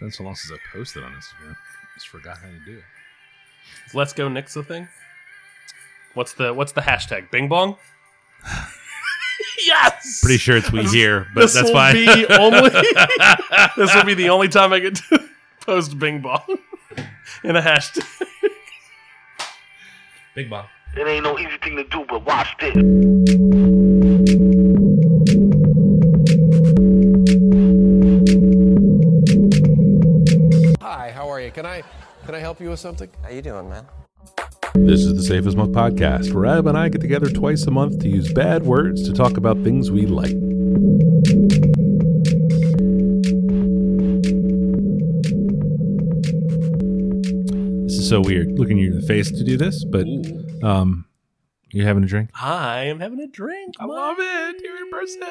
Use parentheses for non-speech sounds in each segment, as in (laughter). been so long since I posted on Instagram. Just forgot how to do it. Let's go nix the thing. What's the what's the hashtag? Bing bong. (laughs) yes. Pretty sure it's we here, but this that's will fine. (laughs) be only. (laughs) this will be the only time I get to (laughs) post Bing bong in a hashtag. Big Bob. It ain't no easy thing to do, but watch this. Hi, how are you? Can I can I help you with something? How you doing, man? This is the Safest Month podcast, where Adam and I get together twice a month to use bad words to talk about things we like. This is so weird. Looking you in the face to do this, but um, you having a drink? I am having a drink. I love it. You're in person.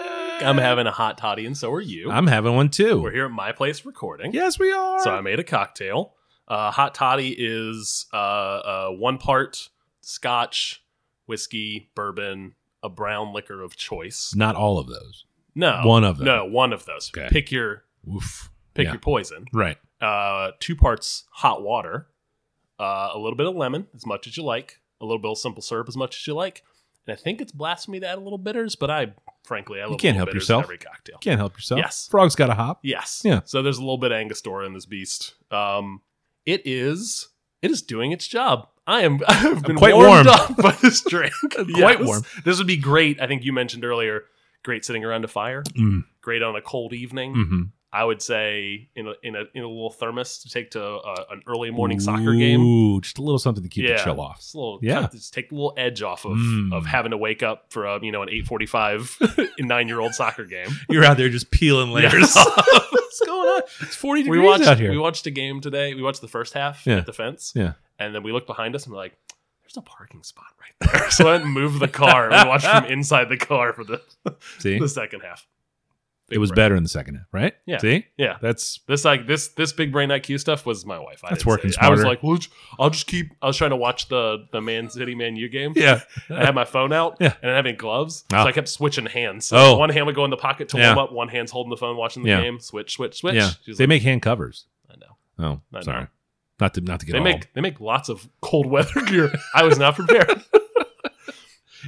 I'm having a hot toddy, and so are you. I'm having one too. We're here at my place recording. Yes, we are. So I made a cocktail. Uh, hot toddy is uh, uh, one part scotch, whiskey, bourbon, a brown liquor of choice. Not all of those. No, One of them. No, one of those. Okay. Pick your Oof. pick Yeah. your poison. Right. Uh, two parts hot water, uh, a little bit of lemon, as much as you like, a little bit of simple syrup, as much as you like. And I think it's blasphemy to add a little bitters, but I frankly I love can't a little help bitters yourself. in every cocktail. Can't help yourself. Yes. Frog's got a (laughs) hop. Yes. Yeah. So there's a little bit of Angostura in this beast. Um, it is it is doing its job. I am (laughs) I've been quite warmed warm. up by this drink. Quite warm. This would be great. I think you mentioned earlier. Great sitting around a fire. Mm. Great on a cold evening. Mm-hmm. I would say in a, in a in a little thermos to take to uh an early morning soccer game. Ooh, just a little something to keep the chill off. (laughs) Just a little, Yeah. just take the little edge off of, Mm. of having to wake up for a, you know an eight forty five (laughs) nine year old soccer game. You're out there just peeling (laughs) layers. (laughs) Yes. What's going on? It's 40 we degrees watched out here. we watched a game today. We watched the first half Yeah. at the fence. Yeah. And then we looked behind us and we're like, there's a parking spot (laughs) right there. so I went and moved the car. We watched from inside the car for the, See, the second half. it was better in the second half, right? Yeah. See, Yeah. that's This like this this big brain IQ stuff was my wife. I That's didn't working say it. I was smarter. like, well, I'll just keep. I was trying to watch the the Man City Man U game. yeah. I had my phone out Yeah. and I didn't have any gloves, Ah. so I kept switching hands. So Oh. one hand would go in the pocket to Yeah. warm up, one hand's holding the phone, watching the Yeah. game. Switch, switch, switch. yeah. She was They like, make hand covers. I know. Oh, I know. sorry. Not to not to get They all. make they make lots of cold (laughs) weather gear. I was (laughs) not prepared.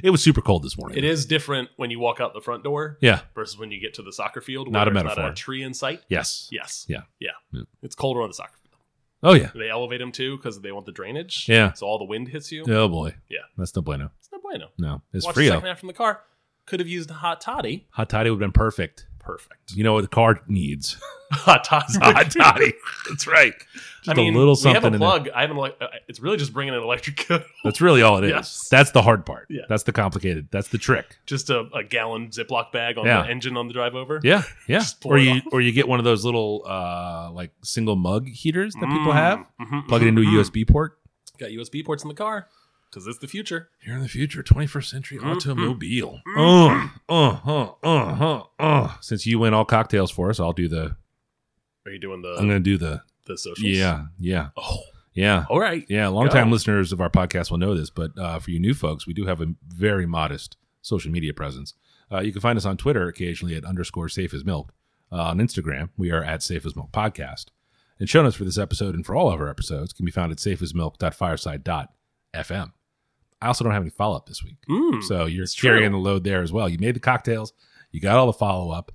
it was super cold this morning. it is different when you walk out the front door Yeah. versus when you get to the soccer field. Not a there's Not metaphor. a tree in sight. Yes. Yes. Yeah. Yeah. Yeah. It's colder on the soccer field. Oh yeah. They elevate them too because they want the drainage. Yeah. So all the wind hits you. Oh boy. Yeah. That's no bueno. It's no bueno. No, it's Watch the Frio. second half from the car. Could have used a hot toddy. Hot toddy would have been perfect. Perfect. You know what the car needs? (laughs) Hot toddy. (laughs) Hot (laughs) toddy. That's right. Just I mean, a little We something have a in there. plug. I haven't. Ele- uh, it's really just bringing an electric (laughs) kettle. That's really all it is. Yes. That's the hard part. Yeah. That's the complicated. That's the (laughs) trick. just a, a gallon Ziploc bag on Yeah. the engine on the drive over. Yeah, yeah. Just pour Or it you off. or you get one of those little uh like single mug heaters that people Mm, have. mhm, Plug it into a mhm, mhm. USB port. Got USB ports in the car because it's the future. Here in the future, 21st century Mhm. automobile. Mhm. Uh, uh, uh, uh, uh. Since you win all cocktails for us, I'll do the. Are you doing I'm the gonna do the. the socials? Yeah, yeah, Oh, yeah, all right. yeah. Long time Go. listeners of our podcast will know this, but uh, for you new folks, we do have a very modest social media presence. Uh, you can find us on Twitter occasionally at underscore safe as milk. Uh, on Instagram, we are at safe as milk podcast. And show notes for this episode and for all of our episodes can be found at safeasmilk.fireside.fm. I also don't have any follow up this week. Mm. So you're It's carrying true. the load there as well. You made the cocktails. You got all the follow up.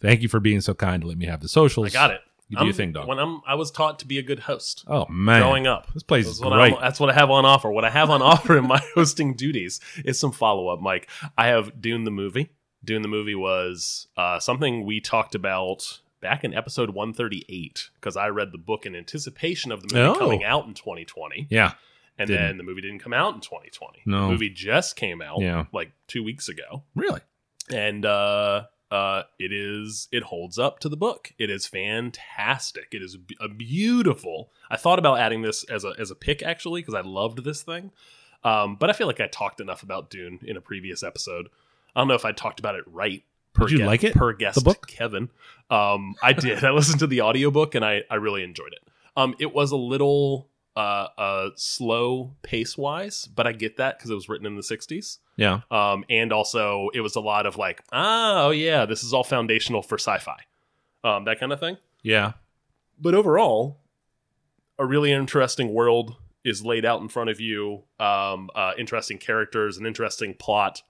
Thank you for being so kind to let me have the socials. I got it. You do I'm- your thing, dog. When I'm, I was taught to be a good host. Oh man, Growing up, this place That's is what, great. I'm- that's what I have on offer. What I have on (laughs) offer in my hosting duties is some follow up, Mike. I have Dune the movie. Dune the movie was uh, something we talked about back in episode 138 because I read the book in anticipation of the movie Oh. coming out in 2020. yeah, And Didn't. then the movie didn't come out in 2020. No. The movie just came out Yeah. like two weeks ago. really. And uh, uh, it is, it holds up to the book. It is fantastic. It is b- a beautiful. I thought about adding this as a, as a pick actually, because I loved this thing. Um, but I feel like I talked enough about Dune in a previous episode. I don't know if I talked about it right. Per Did you gue- like it? Per guest, The book? Kevin. Um, I did. I listened to the audiobook and I, I really enjoyed it. Um, it was a little uh, uh, slow pace wise, but I get that because it was written in the 60s. Yeah, Um, and also, it was a lot of ah, like, oh, yeah, this is all foundational for sci fi, um, that kind of thing. yeah. but overall, a really interesting world is laid out in front of you. Um, uh, interesting characters, an interesting plot,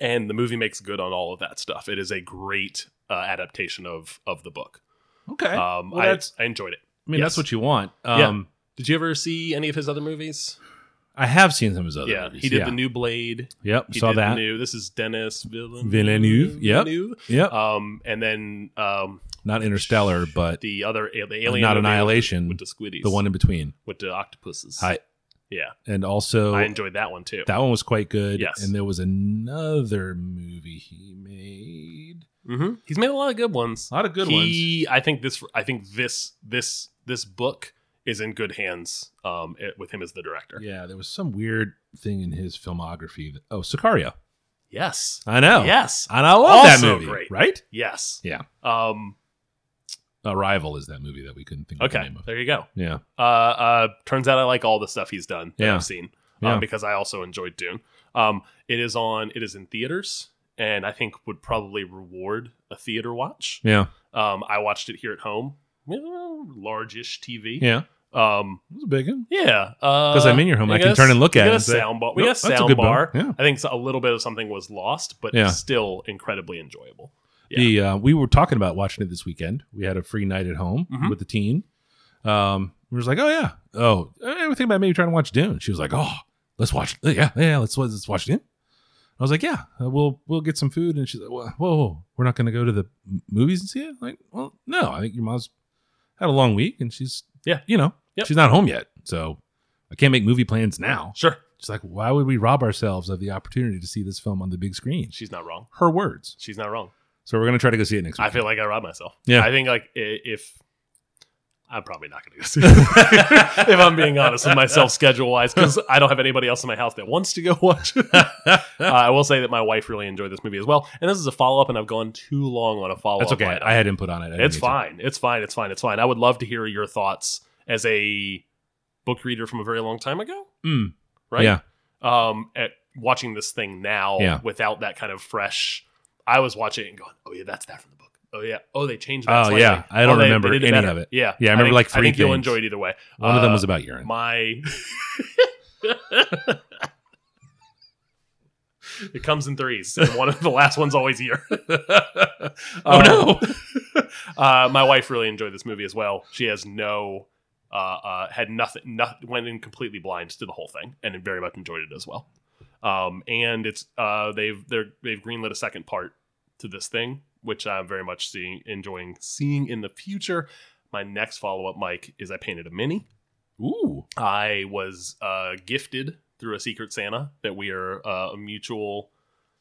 and the movie makes good on all of that stuff. It is a great uh, adaptation of of the book. Okay. Um, Well, I, that's- I enjoyed it. I mean, that's yes. what you want. Yeah. Um, Did you ever see any of his other movies? I have seen some of his other yeah, movies. he did yeah. the New Blade. Yep, He saw did the that. new. This is Dennis Villeneuve. Villeneuve, yep. Villeneuve. Yep. Um, and then um, Not Interstellar, but the other the alien not movie Annihilation. with the squiddies, the one in between. with the octopuses. I yeah, and also I enjoyed that one too. that one was quite good. Yes. And there was another movie he made. hmm He's made a lot of good ones. A lot of good he, I think this. I think this. This. This book is in good hands. Um, it, with him as the director. ones. Yeah, there was some weird thing in his filmography. That, oh, Sicario. Yes. I know. Yes. And I love that Also movie. great. Right? Yes. Oh. Yeah. Um. Arrival is that movie that we couldn't think of the Okay. name of. There you go. Yeah. Uh, uh, turns out I like all the stuff he's done that Yeah. I've seen Yeah. um, because I also enjoyed Dune. Um, it is on. It is in theaters, and I think would probably reward a theater watch. Yeah. Um, I watched it here at home, well, large-ish TV. Yeah. Um, It was a big one. yeah. Because I'm in your home, I can guess- turn and look we at it got and A say, sound bar. We "Nope, got a that's a sound good bar. bar." Yeah. I think so- a little bit of something was lost, but Yeah. still incredibly enjoyable. Yeah. The uh, we were talking about watching it this weekend. We had a free night at home Mhm. with the teen. Um, we was like, oh yeah, oh, I was thinking about maybe trying to watch Dune. She was like, oh, let's watch, yeah, yeah, let's let's watch Dune. I was like, yeah, uh, we'll we'll get some food, and she's like, whoa, whoa, whoa, we're not going to go to the m- movies and see it. Like, well, no, I think your mom's had a long week, and she's Yeah. you know, Yep. she's not home yet, so I can't make movie plans now. Sure, She's like, why would we rob ourselves of the opportunity to see this film on the big screen? she's not wrong. Her words. She's not wrong. So we're gonna try to go see it next week. I feel like I robbed myself. Yeah. I think like i- if I'm probably not going to (laughs) go see it. (laughs) if I'm being honest with myself, schedule wise, because I don't have anybody else in my house that wants to go (laughs) (laughs) watch. it. uh, I will say that my wife really enjoyed this movie as well, and this is a follow up, and I've gone too long on a follow up. That's okay. I had input on it. I didn't It's need to. fine. It's fine. It's fine. It's fine. I would love to hear your thoughts as a book reader from a very long time ago, Mm, right? Yeah. Um, at watching this thing now Yeah. without that kind of fresh, I was watching it and going, "Oh yeah, that's that from the book. Oh yeah. Oh they changed that. Oh, slightly. yeah. I Oh, don't they- remember they did any better." of it. Yeah. Yeah, I remember, think- like, I three think you'll things. enjoy it either way. One of them was Uh, about urine. (laughs) my. (laughs) It comes in threes, and one of the last one's always here. (laughs) Um, Oh, no. uh, my wife really enjoyed this movie as well. She has no, uh, uh, had nothing, not, went in completely blind to the whole thing, and very much enjoyed it as well. Um, and it's uh, they've they're, they've greenlit a second part to this thing, which I'm very much seeing enjoying seeing in the future. My next follow up, Mike, is I painted a mini. (laughs) Ooh. I was uh, gifted through a Secret Santa that we are uh, a mutual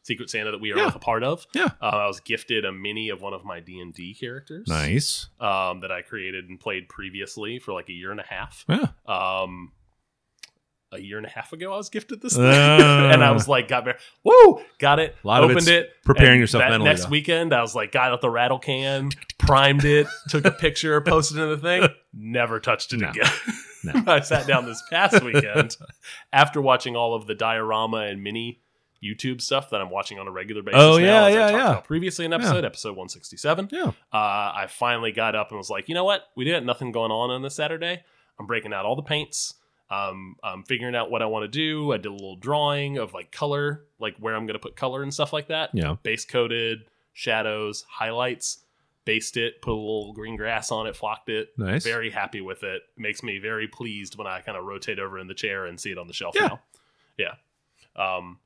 Secret Santa that we are Yeah. a part of. Yeah. uh, I was gifted a mini of one of my D and D characters. Nice. um, that I created and played previously for like a year and a half. Yeah. Um, a year and a half ago, I was gifted this, thing. Ah. and I was like, got mar- woo, got it, A lot of opened it's it, preparing and yourself that mentally, Next though. weekend, I was like, got out the rattle can, primed it, took (laughs) a picture, posted it in the thing, never touched it No. again. No. (laughs) I sat down this past weekend after watching all of the diorama and mini YouTube stuff that I'm watching on a regular basis. Oh, now, yeah, as I yeah, talked yeah. about Previously, in episode episode 167 Yeah. uh, I finally got up and was like, you know what? We didn't nothing going on on this Saturday. I'm breaking out all the paints. Um, I'm figuring out what I want to do. I did a little drawing of like color, like where I'm going to put color and stuff like that. Yeah. Base coated, shadows, highlights, based it, put a little green grass on it, flocked it. Nice. Very happy with it. Makes me very pleased when I kind of rotate over in the chair and see it on the shelf Yeah. now. Yeah. Um,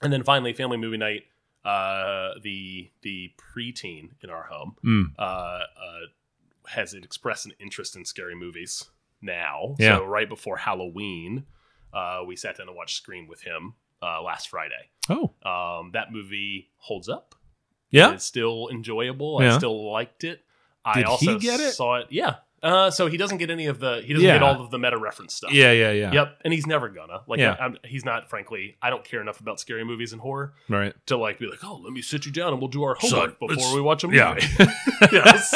and then finally, family movie night. Uh, the the preteen in our home Mm. uh, uh, has expressed an interest in scary movies now. Yeah. So right before Halloween, uh, we sat down and watched Scream with him uh, last Friday. Oh. Um, that movie holds up. Yeah. It's still enjoyable. I Yeah. still liked it. I Did also he get it? saw it. Yeah. Uh, so he doesn't get any of the he doesn't Yeah. get all of the meta reference stuff. Yeah. Yeah. Yeah. Yep. And he's never gonna like. Yeah. I, am he's not. Frankly, I don't care enough about scary movies and horror Right. to like be like, oh, let me sit you down and we'll do our Son, homework before let's- we watch a movie. (laughs) yeah. (laughs) yes.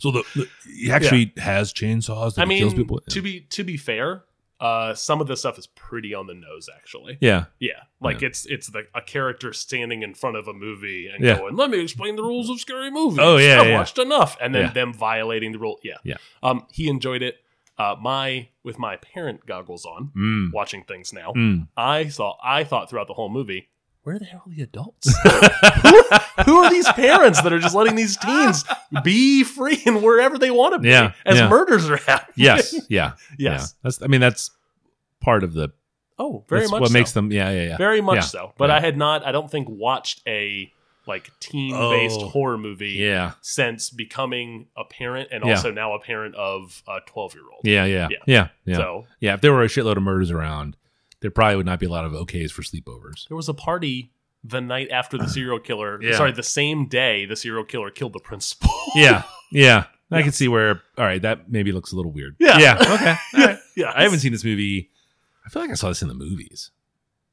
So the, the- he actually has chainsaws that I he kills mean, people. with. to be to be fair, Uh, some of this stuff is pretty on the nose, actually. Yeah. Yeah, like Yeah. it's it's the, a character standing in front of a movie and Yeah. going, "Let me explain the rules of scary movies." Oh, yeah, I've yeah. watched enough, and then Yeah. them violating the rule. Yeah, Yeah. Um, he enjoyed it. Uh, my with my parent goggles on, Mm. watching things now, Mm. I saw I thought throughout the whole movie, where the hell are the adults? who, who are these parents that are just letting (laughs) these teens be free and wherever they want to be Yeah, as yeah. murders are happening? (laughs) Yes. Yeah. yes. Yeah. That's. I mean, that's part of the. (laughs) Oh, very that's much. what so. makes them. Yeah. Yeah. Yeah. very much Yeah. so. But Yeah. I had not. I don't think watched a like teen-based Oh. horror movie yeah. since becoming a parent and Yeah. also now a parent of a twelve-year-old. Yeah. Yeah. Yeah. Yeah. Yeah. So yeah. If there were a shitload of murders around, there probably would not be a lot of okays for sleepovers. there was a party. The night after (sighs) the serial killer, Yeah. sorry, the same day the serial killer killed the principal. Yeah. Yeah. I can see where. All right. That maybe looks a little weird. (laughs) Yeah. (laughs) Yeah. Okay. All right. yeah. I haven't seen this movie. I feel like I saw this in the movies.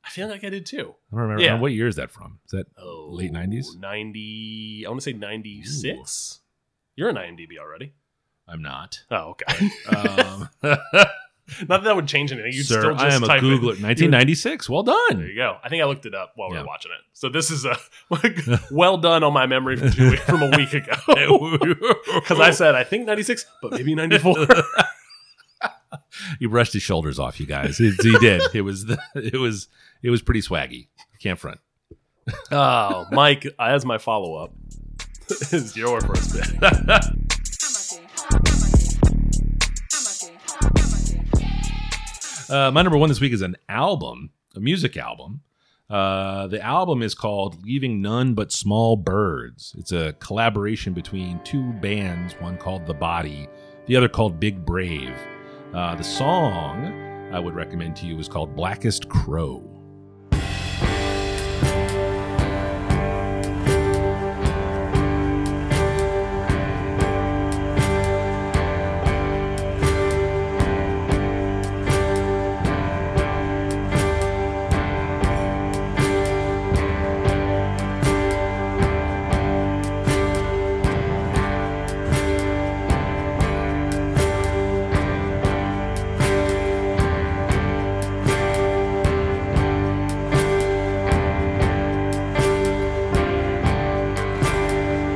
I feel like I did too. I don't remember. Yeah. What year is that from? Is that Oh, Late 90s? ninety. I want to say ninety six. You're an IMDb already. I'm (laughs) not. (laughs) Oh, okay. Um, Not that that would change anything. You'd sir, still just I am a type in- Googler. 1996. Well There done. you go. I think I looked it up while we Yeah. were watching it. So this (laughs) is a (laughs) well done on my memory from, two, from a week ago. (laughs) Because Oh. I said I think ninety six, but maybe ninety four. He brushed his shoulders off, you guys. He, he did. It was the, (laughs) it was it was pretty swaggy. Can't front. oh, Mike, as my follow up, (laughs) is your first pick. Uh, my number one this week is an album, a music album. Uh, the album is called Leaving None But Small Birds. It's a collaboration between two bands, one called The Body, the other called Big Brave. Uh, the song I would recommend to you is called Blackest Crow.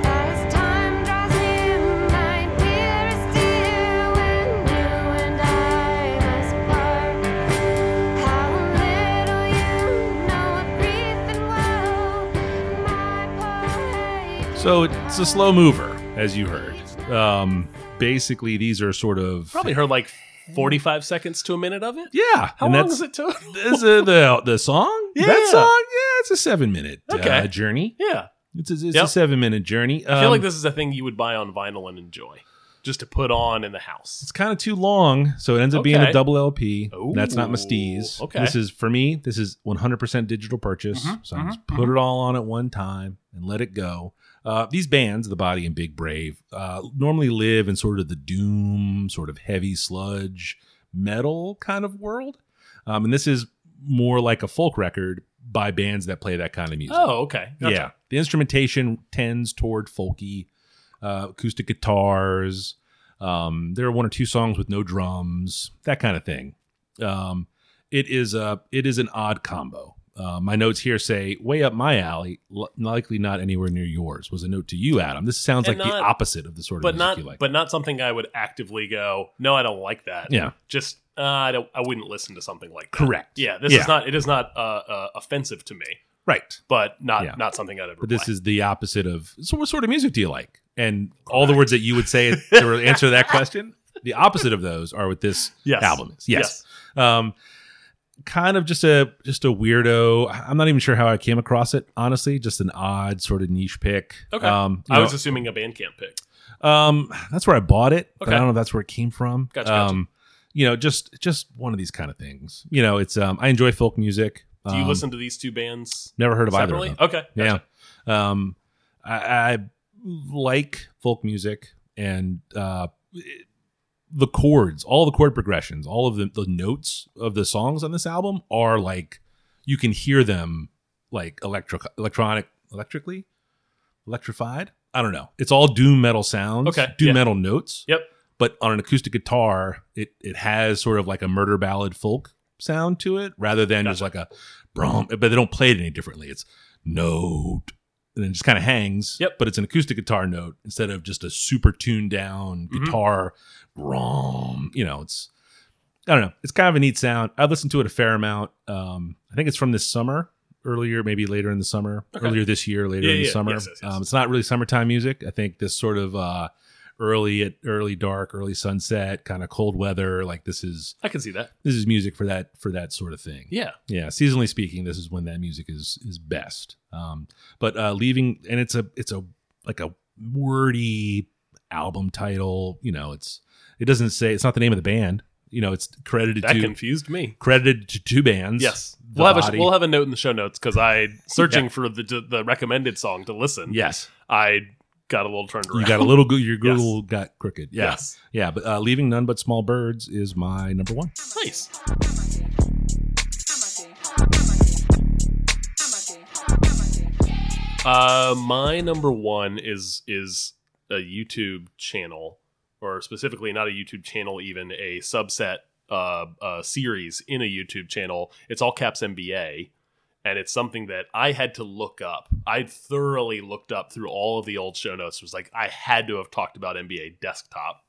As time draws in, my dearest dear, when you and I must part, how little you know of grief and woe, my poor So it's a slow mover, as you heard. Um, basically, these are sort of Probably heard like forty five seconds to a minute of it. yeah. How and long that's- is it to? Is it the the (laughs) song? Yeah. that song. Yeah, it's a seven minute uh, Okay. journey. (laughs) yeah, It's a, it's a Yep. seven minute journey. I feel Um, like this is a thing you would buy on vinyl and enjoy, just to put on in the house. It's kind of too long, so it ends up being a Okay. double LP. Ooh, That's not my steez. okay. This is for me. This is 100% digital purchase. Mhm, so I just put it all on at one time and let it go. Uh, these bands, The Body and Big Brave, uh, normally live in sort of the doom, sort of heavy sludge metal kind of world, um, and this is more like a folk record by bands that play that kind of music. Oh, okay. Gotcha. Yeah. The instrumentation tends toward folky, uh, acoustic guitars. Um, there are one or two songs with no drums, that kind of thing. Um, it is a it is an odd combo. Uh, my notes here say way up my alley, l- likely not anywhere near yours. Was a note to you, Adam. This sounds And like the not- opposite of the sort of but music not you like. but not something I would actively go. No, I don't like that. yeah, just uh, I don't. I wouldn't listen to something like that. Correct. Yeah, this Yeah. is not. It is not uh, uh, offensive to me, right. but not Yeah. not something I'd ever. But this is the opposite of. So, what sort of music do you like? And all the words that you would say (laughs) to answer that question, the opposite of those are what this Yes. album is. yes. um kind of just a just a weirdo i'm not even sure how i came across it honestly just an odd sort of niche pick Okay. um you I know, was assuming a Bandcamp pick. um that's where i bought it but i Okay. don't know if that's where it came from Gotcha, gotcha. um you know just just one of these kind of things you know it's um i enjoy folk music Do you Um, listen to these two bands never heard of separately? either of them. Okay. gotcha. yeah um I, I like folk music and uh it- the chords all the chord progressions all of the, the notes of the songs on this album are like you can hear them like electric electronic electrically electrified i don't know it's all doom metal sounds Okay, doom yeah. metal notes Yep. but on an acoustic guitar, it it has sort of like a murder ballad folk sound to it rather than just like a brom. But they don't play it any differently. It's note and then it just kind of hangs. Yep. But it's an acoustic guitar note instead of just a super tuned down Mhm. guitar brom. You know, it's I don't know. It's kind of a neat sound. I've listened to it a fair amount. Um, I think it's from this summer, earlier, maybe later in the summer, Okay. earlier this year, later Yeah, in the yeah, summer. yes, yes, yes. Um, it's not really summertime music. I think this sort of uh, early at early dark, early sunset, kind of cold weather. Like this is I can see that. this is music for that for that sort of thing. Yeah. Yeah, seasonally speaking, this is when that music is is best. Um, but uh, leaving and it's a it's a like a wordy album title. You know, it's it doesn't say it's not the name of the band. You know, it's credited That to confused me. credited to two bands. Yes, The we'll have Body- a we'll have a note in the show notes because I (laughs) searching for the the recommended song to listen. yes. I got a little turned around. (laughs) You got a little go- your Google got crooked. Yeah. yes, Yeah, but uh, leaving none but small birds is my number one. nice. Uh, my number one is is a YouTube channel, or specifically not a YouTube channel, even a subset uh, uh series in a YouTube channel. It's all caps MBA, and it's something that I had to look up. I thoroughly looked up through all of the old show notes. It was like I had to have talked about MBA Desktop,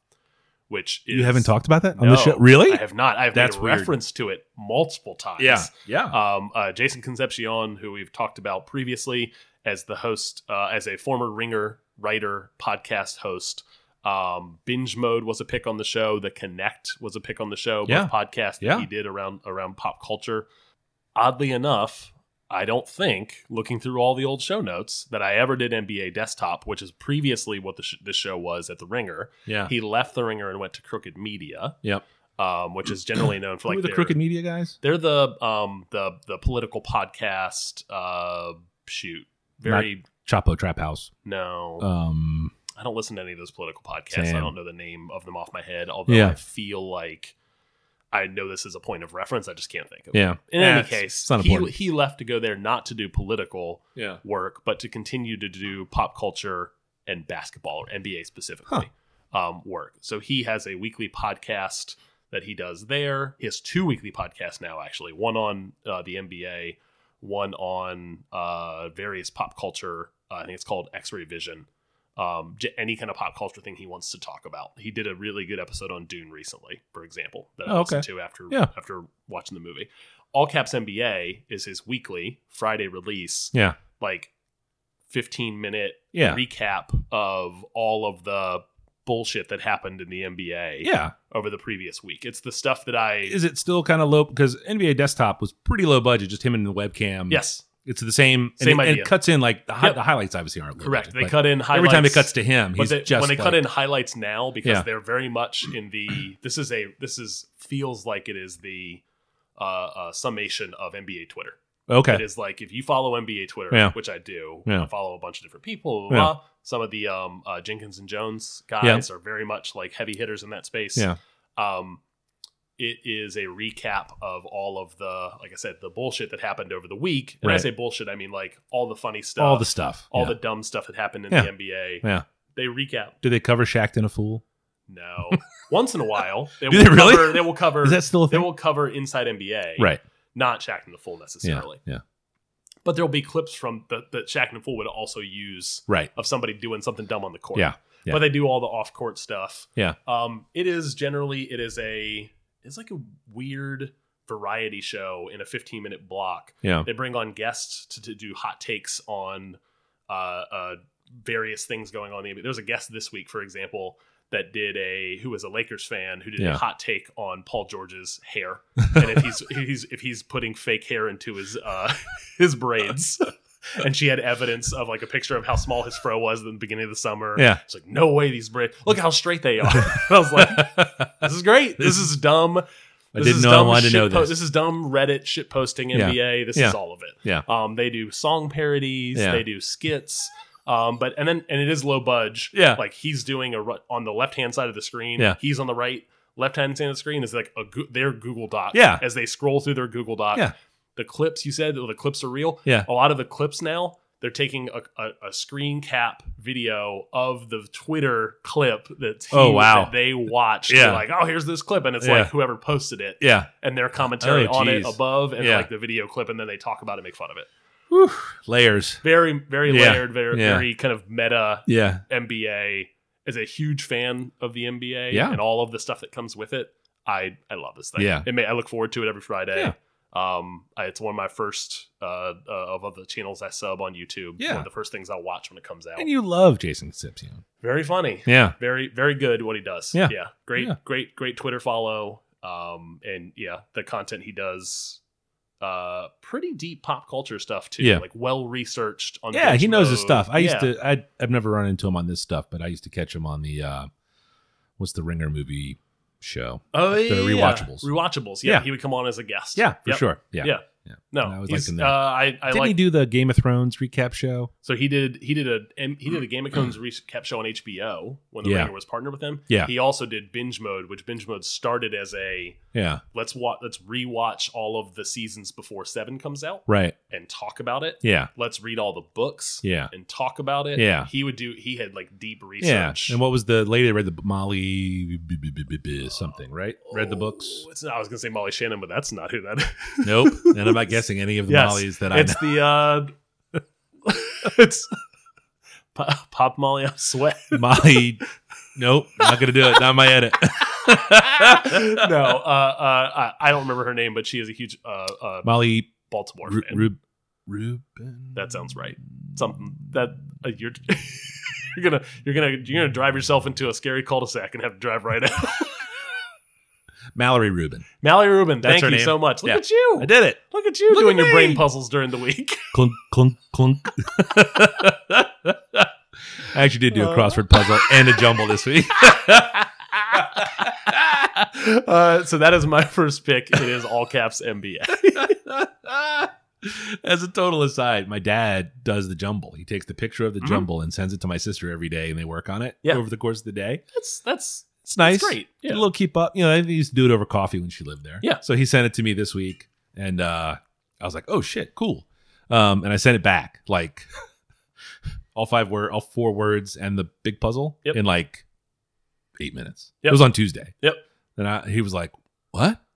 which is, You haven't talked about that on No, the show, really? I have not. I've That's made weird. reference to it multiple times yeah. um, uh, Jason Concepcion, who we've talked about previously as the host, uh, as a former ringer, writer, podcast host. Um, Binge Mode was a pick on the show. The Connect was a pick on the show. Yeah. Both podcasts that Yeah. he did around around pop culture. Oddly enough, I don't think looking through all the old show notes that I ever did NBA Desktop, which is previously what the sh this show was at the Ringer. yeah. He left the Ringer and went to Crooked Media. Yep. Um, which is generally known for Who like are the their- crooked media guys? they're the um the the political podcast uh shoot. Very Chapo Trap House. no. Um, I don't listen to any of those political podcasts. Same. I don't know the name of them off my head, although Yeah. I feel like I know this is a point of reference. I just can't think of it. yeah. In Yeah, any it's- case, it's not he, important. he left to go there not to do political Yeah. work, but to continue to do pop culture and basketball or NBA specifically um, work. So he has a weekly podcast that he does there. He has two weekly podcasts now, actually one on uh, the NBA, one on uh, various pop culture. Uh, I think it's called X Ray Vision. Um, j- any kind of pop culture thing he wants to talk about. He did a really good episode on Dune recently, for example, that I Oh, listened to after Yeah. after watching the movie. All Caps NBA is his weekly Friday release Yeah. like 15 minute Yeah. recap of all of the bullshit that happened in the NBA Yeah. over the previous week. It's the stuff that I Is it still kind of low? Because NBA Desktop was pretty low budget, just him and the webcam. yes, It's the same. and Same it, and idea. it cuts in like the, hi- Yep. the highlights obviously aren't low correct. budget, They but cut in highlights Every time it cuts to him, but he's they, just when they cut like- in highlights now because Yeah. they're very much in the this is a this is feels like it is the uh, uh summation of NBA Twitter. It Okay. is like if you follow NBA Twitter, Yeah. which I do, Yeah. I follow a bunch of different people. Blah, blah, Yeah. blah. Some of the um, uh, Jenkins and Jones guys are very much like heavy hitters in that space. Yeah. Um, it is a recap of all of the, like I said, the bullshit that happened over the week. And I Right. say bullshit, I mean like all the funny stuff, All the stuff. uh, all yeah. the dumb stuff that happened in Yeah. the NBA. Yeah. They recap. Do they cover Shacked in a Fool? No, once in (laughs) a while they Do will they really? cover. They will cover. Is that still a Er, they thing? will cover inside NBA, right. Not Shaq in the full Yeah. necessarily Yeah. but there'll be clips from the, that Shaq and Fool would also use Right. of somebody doing something dumb on the court. Yeah, yeah. But they do all the off court stuff. Yeah. Um, it is generally it is a it's like a weird variety show in a 15 minute block. Yeah. They bring on guests to, to do hot takes on uh, uh, various things going on. in the NBA. There was a guest this week, for example, that did a who was a Lakers fan who did Yeah. a hot take on Paul George's (laughs) hair and if he's he's if he's putting fake hair into his uh his braids. (laughs) And she had evidence of like a picture of how small his fro was in the beginning of the summer. Yeah. It's like, no way these braids look how straight they (laughs) are. I was like, this is great. This is dumb. This didn't is know I dumb wanted to know shitpo- this. This is dumb Reddit shit posting Yeah. NBA. This Yeah. is all of it. Yeah. Um, they do song parodies. Yeah. They do skits. Um, but and then and it is low budge. (laughs) (laughs) Yeah. Like he's doing a ru- on the left hand side of the screen. Yeah. He's on the right left hand side of the screen is like a go- their Google Doc. Yeah. As they scroll through their Google Doc. Yeah. The clips you said, oh, the clips are real. Yeah. A lot of the clips now they're taking a, a, a screen cap video of the Twitter clip that's Oh, huge wow. that they watched. Yeah. They're like, oh, here's this clip, and it's Yeah. like whoever posted it Yeah. and their commentary Oh, on it geez. above and Yeah. like the video clip, and then they talk about it, and make fun of it. Layers. Very, very Yeah. layered, very, Yeah. very kind of meta Yeah. MBA. As a huge fan of the MBA Yeah. and all of the stuff that comes with it, I I love this thing. Yeah. it may, I look forward to it every Friday. Um, I, it's one of my first uh, uh of all the channels I sub on YouTube. Yeah. one of the first things I watch when it comes out. And you love Jason Concepcion. very funny. Yeah. Very, very good what he does. Yeah. Yeah. Great, Yeah. great, great Twitter follow. Um, and yeah, the content he does uh pretty deep pop culture stuff too. Yeah. Like well researched on Yeah, he Bench knows his Mode. stuff. I used Yeah. to I I've never run into him on this stuff, but I used to catch him on the uh what's the Ringer movie show. Oh yeah. The rewatchables. Rewatchables. Yeah. Yeah. He would come on as a guest. for Yep. sure. Yeah. Yeah. Yeah. No. And I was he's- liking uh, that. I, I Didn't like he do the Game of Thrones recap show? so he did he did a and he (clears throat) did a Game of Thrones recap show on HBO when the Yeah. Ringer was partnered with him. Yeah. He also did binge mode, which binge mode started as a Yeah. let's watch let's rewatch all of the seasons before seven comes out Right. and talk about it. Yeah. Let's read all the books Yeah. and talk about it. Yeah. He would do he had like deep Yeah. research. And what was the lady that read the Molly b- b- b- b- b- something, right? Read the books? Oh, it's not- I was gonna say Molly Shannon, but that's not who that is. (laughs) Nope. And I'm not guessing any of the Yes. Mollies that I know. it's the uh (laughs) it's Pa- pop molly i sweat Molly Nope. Not gonna do it. Not my edit. (laughs) no uh, uh i I don't remember her name but she is a huge uh, uh Molly baltimore Ru- fan Rub- Ruben. that sounds right something that uh, you're (laughs) you're gonna you're gonna you're gonna drive yourself into a scary cul-de-sac and have to drive right out (laughs) Mallory Rubin. mallory rubin That's thank her you name. so much look Yeah. at you I did it. look at you Look at doing your me. brain puzzles during (laughs) the week (laughs) clunk clunk clunk. (laughs) I actually did do a crossword puzzle and a jumble this week. uh, so that is my (laughs) first pick it is all caps (laughs) mba As a total aside, my dad does the jumble. He takes the picture of the Mhm. jumble and sends it to my sister every day, and they work on it Yeah. over the course of the day. that's that's It's nice. It's great. Yeah. A little keep up. You know, they used to do it over coffee when she lived there. Yeah. So he sent it to me this week, and uh, I was like, "Oh shit, cool." Um, and I sent it back like (laughs) all five word, all four words, and the big puzzle Yep. in like eight minutes. Yep. It was on Tuesday. Yep. And I, he was like, "What?" (laughs)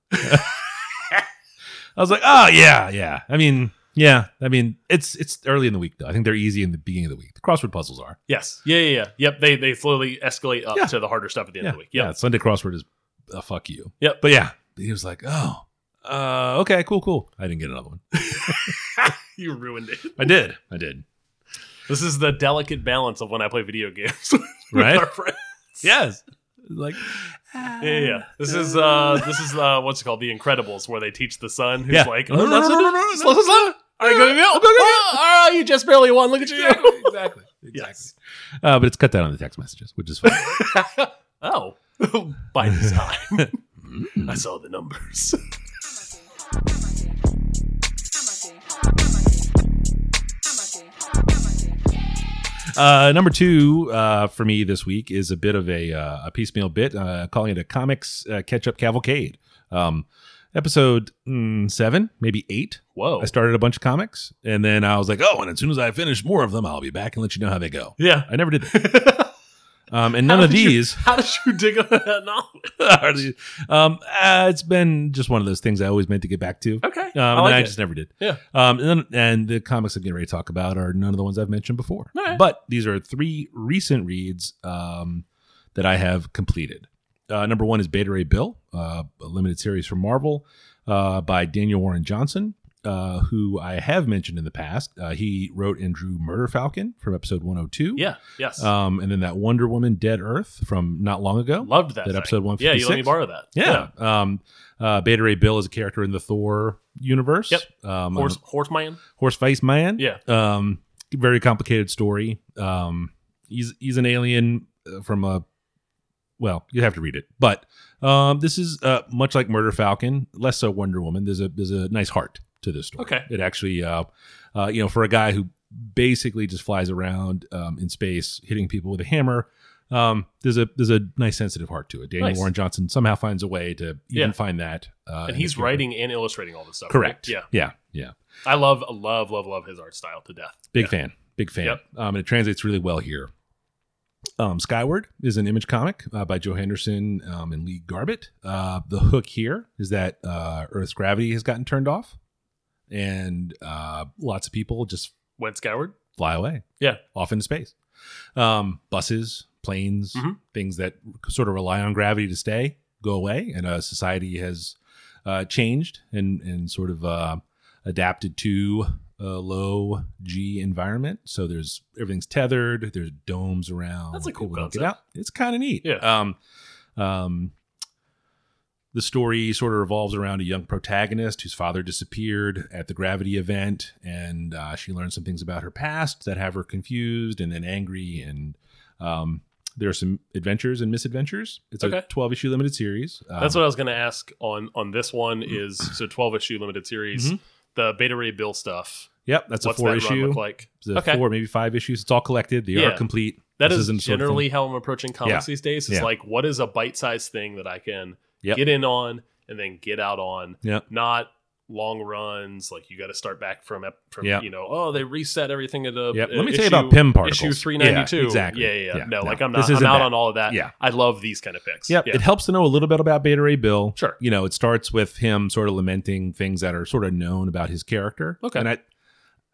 I was like, "Oh yeah, yeah." I mean, yeah. I mean, it's it's early in the week though. I think they're easy in the beginning of the week. The crossword puzzles are. Yes. Yeah, yeah, yeah. Yep. They they slowly escalate up Yeah. to the harder stuff at the end yeah, of the week. Yep. yeah. Sunday crossword is a fuck you. Yep. But yeah, he was like, oh, uh, okay, cool, cool. I didn't get another one. You ruined it. I did. I did. (laughs) This is the delicate balance of when I play video games. (laughs) with Right? our friends. yes. (laughs) Like, Yeah, yeah, yeah. This is uh this is uh what's it called? The Incredibles, where they teach the son who's yeah. like "Oh, No, no, (laughs) no, no, no, no, no. slow, slow, slow. All right, go, go, go. Oh, you just barely won. Look at (laughs) you. exactly. Exactly. Yes. Uh, but it's cut down on the text messages, which (laughs) is fine. oh. (laughs) (laughs) By design. I saw the numbers. (laughs) uh, number two uh, for me this week is a bit of a, uh, a piecemeal bit, uh, calling it a comics uh, catch up cavalcade. Um, episode mm, seven, maybe eight, Whoa. I started a bunch of comics, and then I was like, "Oh, and as soon as I finish more of them, I'll be back and let you know how they go." yeah. I never did that. um, and none How of did you- these. (laughs) how did you dig up that knowledge? (laughs) hardly- um, uh, it's been just one of those things I always meant to get back to. Okay. Um, I and like I it. just never did. Yeah. Um, and, then, and the comics I'm getting ready to talk about are none of the ones I've mentioned before. All right. But these are three recent reads um, that I have completed. Uh, number one is Beta Ray Bill, uh, a limited series from Marvel uh, by Daniel Warren Johnson, uh, who I have mentioned in the past. Uh, he wrote and drew Murder Falcon from episode 102. Yeah. Yes. Um, and then that Wonder Woman Dead Earth from not long ago. Loved that. that thing. episode Yeah, you let me 156? borrow that. Yeah. Um, uh, Beta Ray Bill is a character in the Thor universe. Yep. Um, Horse, horse man. horse face man. Yeah. Um, very complicated story. Um, he's he's an alien uh, from a well, you have to read it, but um, this is uh, much like Murder Falcon, less so Wonder Woman. There's a there's a nice heart to this story. Okay. it actually, uh, uh, you know, for a guy who basically just flies around um, in space hitting people with a hammer. Um, there's a there's a nice sensitive heart to it. Daniel Nice. Warren Johnson somehow finds a way to even Yeah. find that, uh, in and his he's character. writing and illustrating all this stuff. Correct. right? Yeah. Yeah. Yeah. I love, love, love, love his art style to death. Big Yeah. fan. Big fan. Yep. Um, and it translates really well here. Um, Skyward is an image comic uh, by Joe Henderson um, and Lee Garbett. Uh, the hook here is that uh, Earth's gravity has gotten turned off, and uh, lots of people just Went Scoured. fly away. Yeah. Off into space. Um, buses, planes, Mhm. things that sort of rely on gravity to stay go away. And uh, society has uh, changed and, and sort of uh, adapted to a low G environment. So there's everything's tethered, there's domes around. That's a cool People don't get concept. out. It's kind of neat. Yeah. Um, um, the story sort of revolves around a young protagonist whose father disappeared at the gravity event, and uh, she learns some things about her past that have her confused and then angry. And um, there are some adventures and misadventures. It's a Okay. twelve issue limited series. Um, mm-hmm. That's what I was going to ask on on this one. Is so twelve issue limited series. The Beta Ray Bill stuff. Yep, that's what's Mm-hmm. a four that run issue. look like? It's a Okay. four, maybe five issues. It's all collected. The Yeah. art complete. That This is isn't sort of thing- generally how I'm approaching comics Yeah. these days. It's Yeah. like, what is a bite-sized thing that I can Yep. get in on and then get out on? Yep. Not long runs. Like you got to start back from ep- from Yep. you know. Oh, they reset everything at the. Yep. uh, Let me tell you issue- about Pym particles. Issue three ninety two. Yeah, exactly. Yeah, yeah. Yeah, No, no. like I'm This not. I'm isn't out that. on all of that. Yeah. I love these kind of picks. Yep. Yeah. It helps to know a little bit about Beta Ray Bill. Sure. You know, it starts with him sort of lamenting things that are sort of known about his character. Okay. And I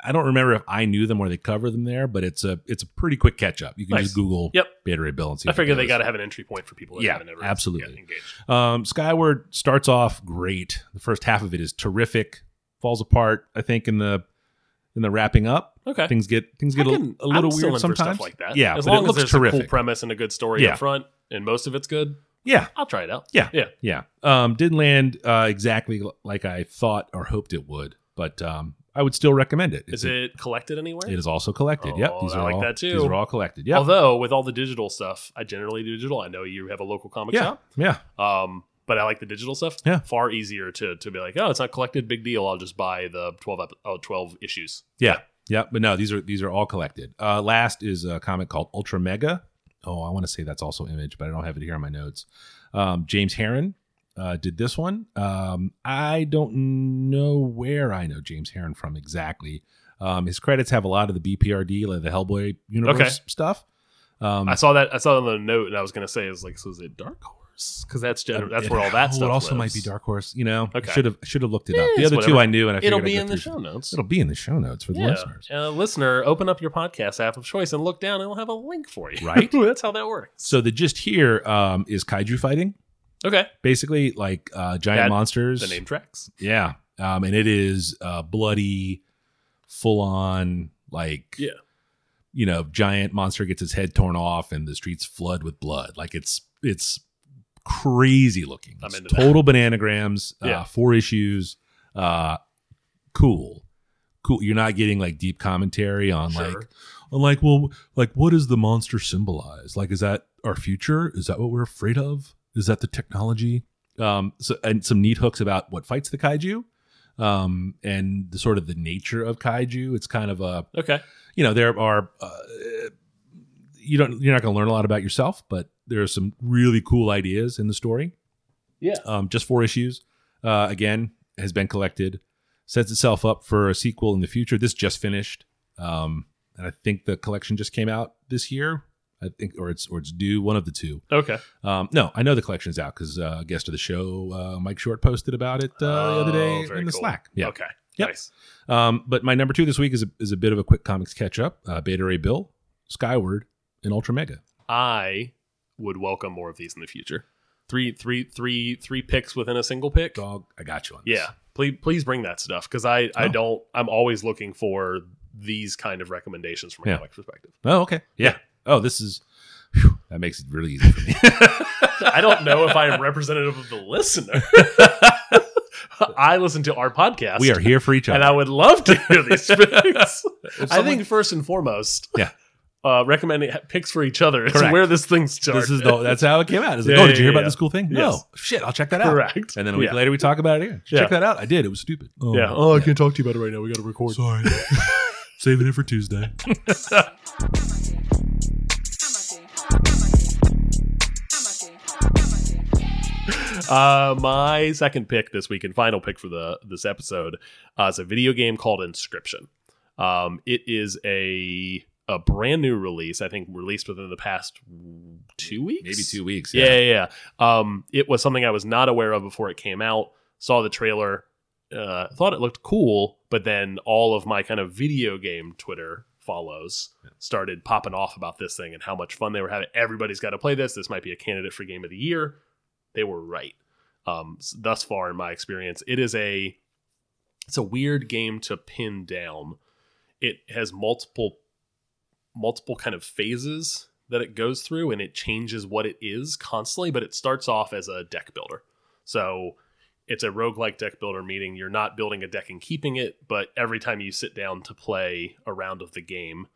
I don't remember if I knew them or they cover them there, but it's a it's a pretty quick catch up. You can Nice. just Google Yep. Beta Ray Bill and see. I what it figure they is. got to have an entry point for people. That Yeah, haven't ever absolutely. yeah, engaged. Um, Skyward starts off great. The first half of it is terrific. Falls apart, I think, in the in the wrapping up. Okay. Things get things I get a, can- a little I'm still in weird for sometimes. Stuff like that. Yeah, as but long it as looks there's terrific. a cool premise and a good story Yeah. up front, and most of it's good, yeah, I'll try it out. Yeah. yeah. Yeah. Um, didn't land uh, exactly l- like I thought or hoped it would, but um, I would still recommend it. It's Is a- it collected anywhere? It is also collected. yep. Oh, These I are like all, that too. These are all collected. Yep. Although with all the digital stuff, I generally do digital. I know you have a local comic yeah. shop, Yeah. um, but I like the digital stuff. Yeah. far easier to to be like, oh, it's not collected, big deal. I'll just buy the 12, ep- oh, 12 issues. Yeah. Yeah. But no, these are these are all collected. Uh, last is a comic called Ultra Mega. Oh, I want to say that's also Image, but I don't have it here on my notes. Um, James Heron uh, did this one. Um, I don't know where I know James Heron from exactly. Um, his credits have a lot of the BPRD, like the Hellboy universe Okay. stuff. Um, I saw that. I saw that on the note, and I was gonna say, is like, so is it Dark Horse? Because that's gen- that's It- (laughs) where all that oh, stuff. It also lives. might be Dark Horse. You know, Okay. should have should have looked it Eh, up. The it's other two whatever. I knew, and I figured It'll I'd be go in the through- show notes. It'll be in the show notes for the Yeah, listeners. uh, listener, open up your podcast app of choice and look down, and it'll have a link for you. Right. (laughs) that's how that works. So the gist here um, is kaiju fighting, Okay, basically like uh, giant That- monsters. the name tracks. Yeah, um, and it is uh, bloody, full on like Yeah. you know, giant monster gets his head torn off, and the streets flood with blood. Like it's it's crazy looking. I'm It's into that. total bananagrams. Yeah. Uh, four issues. Uh, cool, cool. You're not getting like deep commentary on Sure. like on like well like what does the monster symbolize? Like is that our future? Is that what we're afraid of? Is that the technology? Um, so and some neat hooks about what fights the kaiju, um, and the sort of the nature of kaiju. It's kind of a Okay. you know there are uh, you don't you're not going to learn a lot about yourself but there are some really cool ideas in the story Yeah. um, just four issues uh, again has been collected sets itself up for a sequel in the future this just finished um, and i think the collection just came out this year i think or it's or it's due one of the two Okay. um, no i know the collection's out because uh, a guest of the show uh, mike short posted about it uh, the other day Oh, in very the cool. slack yeah Okay. Yep. Nice. um, but my number two this week is a, is a bit of a quick comics catch up. Uh, Beta Ray Bill, Skyward, and Ultra Mega. I would welcome more of these in the future. Three, three, three, three picks within a single pick. Dog, I got you on this. Yeah. Please, please bring that stuff because I, I Oh. don't. I'm always looking for these kind of recommendations from a Yeah. comic perspective. Oh, okay. Yeah. Oh, this is. phew, that makes it really easy for me. (laughs) I don't know if I am representative of the (laughs) listener. I listen to our podcast. we are here (laughs) for each and other. I would love to (laughs) hear these picks. I someone- think first and foremost, Yeah. uh, recommending picks for each other is Correct. where this thing started. this is the, that's how it came out. It's like, Yeah, oh, did you hear yeah, about yeah. this cool thing? Yes. No. Shit, I'll check (laughs) that out. correct. And then a week Yeah. later, we talk about it again. Yeah. Check that out. I did. It was stupid. Oh, Yeah. Oh, I can't talk to you about it right now. We got to record. (laughs) Sorry. Saving it for Tuesday. Uh, my second pick this week and final pick for the this episode uh, is a video game called Inscription. Um, it is a a brand new release. I think released within the past two weeks, Maybe two weeks. yeah, yeah, yeah. Um, it was something I was not aware of before it came out. Saw the trailer, uh, thought it looked cool, but then all of my kind of video game Twitter follows started popping off about this thing and how much fun they were having. Everybody's got to play this. This might be a candidate for game of the year. They were right. Um, s- thus far in my experience, it is a it's a weird game to pin down. It has multiple multiple kind of phases that it goes through and it changes what it is constantly, but it starts off as a deck builder. So it's a roguelike deck builder, meaning you're not building a deck and keeping it, but every time you sit down to play a round of the game,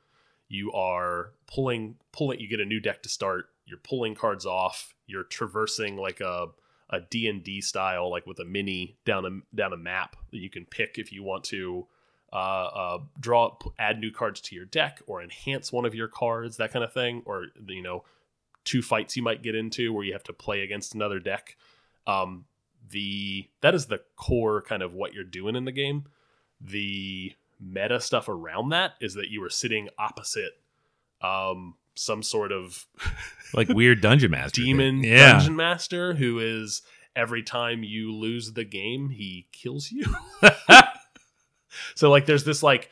you are pulling pulling you get a new deck to start, you're pulling cards off, you're traversing like a a D&D style like with a mini down a down a map that you can pick if you want to uh, uh, draw p- add new cards to your deck or enhance one of your cards that kind of thing or you know two fights you might get into where you have to play against another deck um, the that is the core kind of what you're doing in the game the meta stuff around that is that you are sitting opposite um, some sort of Like weird dungeon master. thing. demon Yeah. dungeon master who is every time you lose the game he kills you (laughs) so like there's this like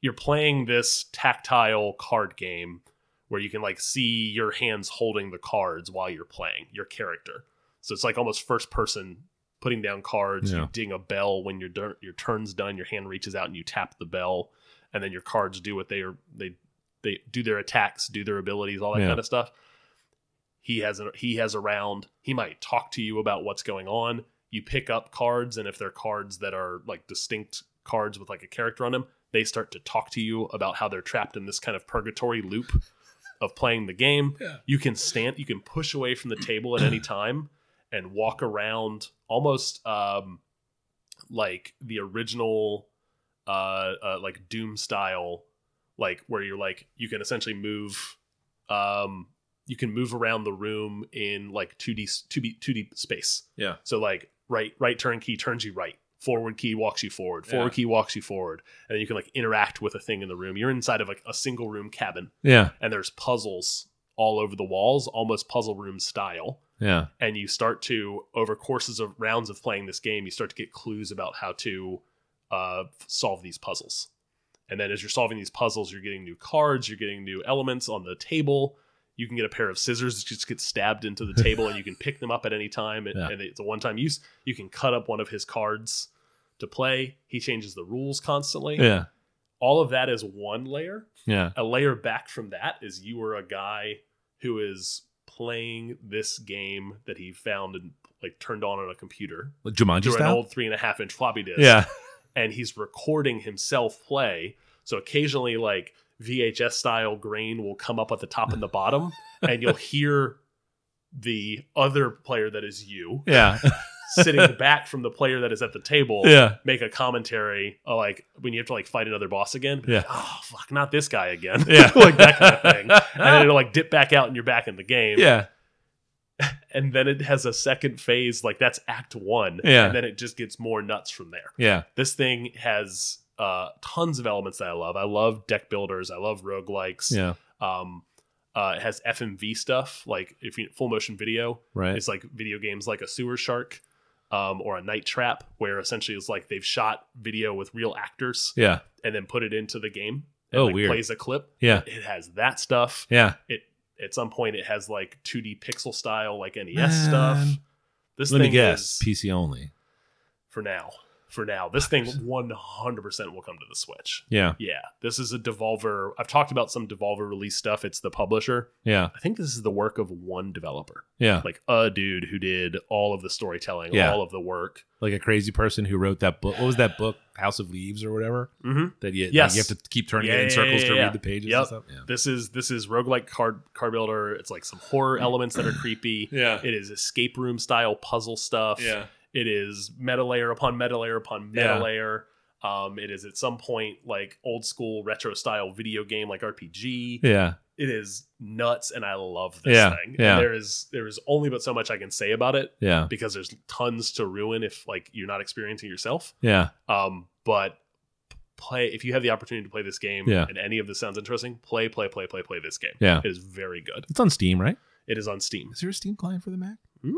you're playing this tactile card game where you can like see your hands holding the cards while you're playing your character so it's like almost first person putting down cards Yeah. you ding a bell when your dur- your turn's done your hand reaches out and you tap the bell and then your cards do what they are they they do their attacks do their abilities all that Yeah. kind of stuff he has a, he has a round. He might talk to you about what's going on. You pick up cards, and if they're cards that are like distinct cards with like a character on them, they start to talk to you about how they're trapped in this kind of purgatory loop of playing the game. Yeah. You can stand, you can push away from the table at any time and walk around almost um, like the original uh, uh like doom style like where you're like you can essentially move um you can move around the room in like 2d 2d 2d space Yeah. so like right right turn key turns you right forward key walks you forward forward Yeah. key walks you forward and you can like interact with a thing in the room you're inside of like a single room cabin Yeah. and there's puzzles all over the walls almost puzzle room style Yeah. and you start to over courses of rounds of playing this game you start to get clues about how to uh, solve these puzzles and then as you're solving these puzzles you're getting new cards you're getting new elements on the table you can get a pair of scissors that just get stabbed into the table and you can pick them up at any time (laughs) and, Yeah. and it's a one-time use you can cut up one of his cards to play he changes the rules constantly Yeah. all of that is one layer Yeah. a layer back from that is you were a guy who is playing this game that he found and like turned on on a computer Like Jumanji through an style. old three and a half inch floppy disk. Yeah. And he's recording himself play. So occasionally, like VHS style grain will come up at the top and (laughs) the bottom, and you'll hear the other player that is you Yeah. sitting back from the player that is at the table (laughs) yeah. make a commentary uh, like when you have to like fight another boss again. Yeah. Oh fuck, not this guy again. (laughs) Yeah. (laughs) like that kind (laughs) of thing. And then it'll like dip back out and you're back in the game. Yeah. And then it has a second phase, like that's act one. Yeah. And then it just gets more nuts from there. Yeah. This thing has uh tons of elements that I love. I love deck builders, I love roguelikes. Yeah. Um uh, it has FMV stuff like if you full motion video, Right. it's like video games like a sewer shark um, or a night trap where essentially it's like they've shot video with real actors yeah. and then put it into the game and Oh, like weird. plays a clip Yeah. it has that stuff Yeah. at some point it has like 2d pixel style like nes stuff Man. this Let me thing guess. is PC only. for now for now this thing 100% will come to the switch Yeah. yeah this is a devolver i've talked about some devolver release stuff it's the publisher Yeah. i think this is the work of one developer Yeah. like a dude who did all of the storytelling Yeah. all of the work Like a crazy person who wrote that book. What was that book? House of Leaves or whatever? mm-hmm. That you, like, Yes. you have to keep turning Yeah, it in yeah, circles yeah, to yeah. read the pages Yep. and stuff. Yeah. This is this is roguelike card card builder. It's like some horror elements that are creepy. Mm. Yeah. It is escape room style puzzle stuff. It is meta layer upon meta layer upon meta Yeah. layer. Um, it is at some point like old school retro style video game like RPG. Yeah. it is nuts, and I love this Yeah, thing. And yeah. there is there is only but so much I can say about it Yeah. because there's tons to ruin if like you're not experiencing yourself. Yeah. Um, but play if you have the opportunity to play this game Yeah. and any of this sounds interesting, play, play, play, play, play this game. Yeah. It is very good. It's on Steam, right? It is on Steam. Is there a Steam client for the Mac? Mm,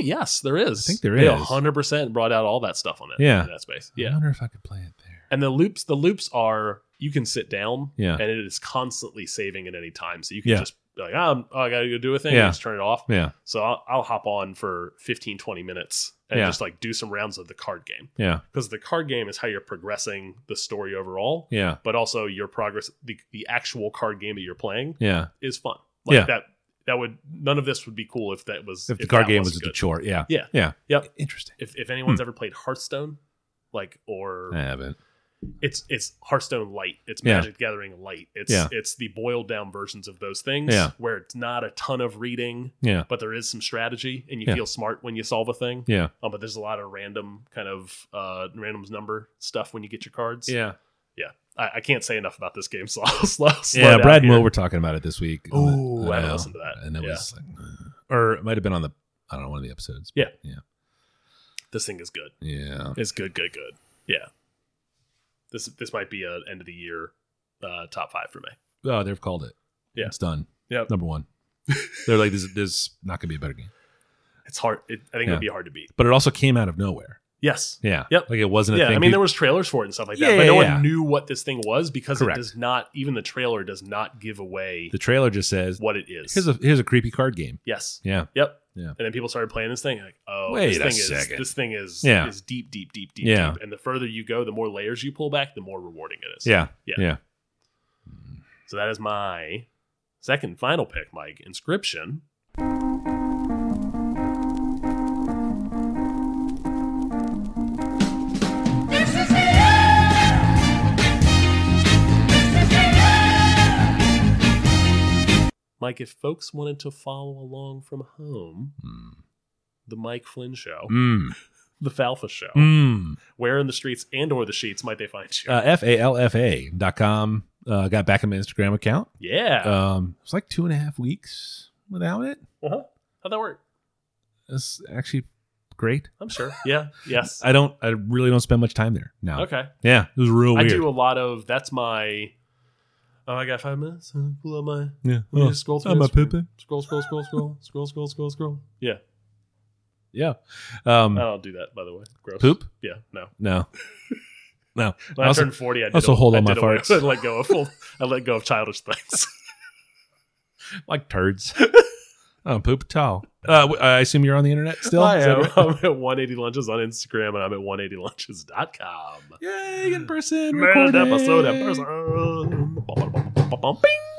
yes, there I is. think there They is. 100% brought out all that stuff on it. Yeah. in that space. I Yeah. wonder if I could play it there. And the loops, the loops are you can sit down, Yeah. and it is constantly saving at any time, so you can Yeah. just be like, oh, oh, I gotta go do a thing, Yeah. and just turn it off. Yeah. So I'll, I'll hop on for 15, 20 minutes and Yeah. just like do some rounds of the card game Yeah. because the card game is how you're progressing the story overall, Yeah. but also your progress, the, the actual card game that you're playing Yeah. is fun. Like Yeah. that, that would none of this would be cool if that was If the card that game was wasn't just a Hmm. good. chore. Yeah. Yeah. Yeah. Yep. Interesting. If if anyone's ever played Hearthstone, like or I haven't. it's it's Hearthstone light. It's Yeah. Magic the Gathering light. It's Yeah. it's the boiled down versions of those things Yeah. where it's not a ton of reading, Yeah. but there is some strategy and you Yeah. feel smart when you solve a thing. Yeah. Um, but there's a lot of random kind of uh random number stuff when you get your cards. Yeah. I, I can't say enough about this game, so (laughs) I'll slow, slow yeah, down Brad and here. Will were talking about it this week. Ooh, I know. listened to that. And it Yeah. was like, uh, or it might have been on the, I don't know, one of the episodes. Yeah. Yeah. This thing is good. Yeah. It's good, good, good. Yeah. This this might be an end of the year uh top five for me. Oh, they've called it. Yeah. It's done. Yep. Number one. They're like, this, this not going to be a better game. It's hard it, I think Yeah. it'd be hard to beat. But it also came out of nowhere. Yes. Yeah. Yep. Like it wasn't a yeah, thing. I mean, peop- there was trailers for it and stuff like that, Yeah, but yeah, no one yeah. knew what this thing was because Correct. it does not. Even the trailer does not give away the trailer just says, what it is. here's a, here's a creepy card game. yes. Yeah. Yep. Yeah. And then people started playing this thing. Like, oh, Wait this a thing is second. this thing is Yeah. is deep, deep, deep, deep, Yeah. deep. And the further you go, the more layers you pull back, the more rewarding it is. Yeah. Yeah. Yeah. So that is my second and final pick, Mike. Inscription. Mike, if folks wanted to follow along from home, Mm. the Mike Flynn Show, Mm. the Falfa Show, Mm. where in the streets and or the sheets might they find you? Uh, F-A-L-F-A dot com. Uh, got back on my Instagram account. yeah, Um, it was like two and a half weeks without it. uh-huh. how'd that work? It's actually great. I'm sure. Yeah. Yes. (laughs) I don't. I really don't spend much time there now. okay. Yeah, it was real I weird. do a lot of. That's my. Oh, I got five minutes. Uh, Pull out my. yeah. Let me Oh, just scroll through. I'm a this. pooping. Scroll, scroll, scroll, scroll, scroll, scroll, scroll, scroll. Yeah, Yeah. I Um. don't do that. By the way, gross. Poop? Yeah, no. no. no. When I, also- turned forty, I did also a- hold I all my did away- farts. (laughs) I let go of full. I let go of (laughs) childish things. Like turds. (laughs) oh, poop towel. Uh, w- I assume you're on the internet still. I Is that am. right? I'm at 180 lunches on Instagram, and I'm at 180lunches.com. Yay, in person. Man, recording. episode, episode. Bum, bum, bum, bum, bum, bing.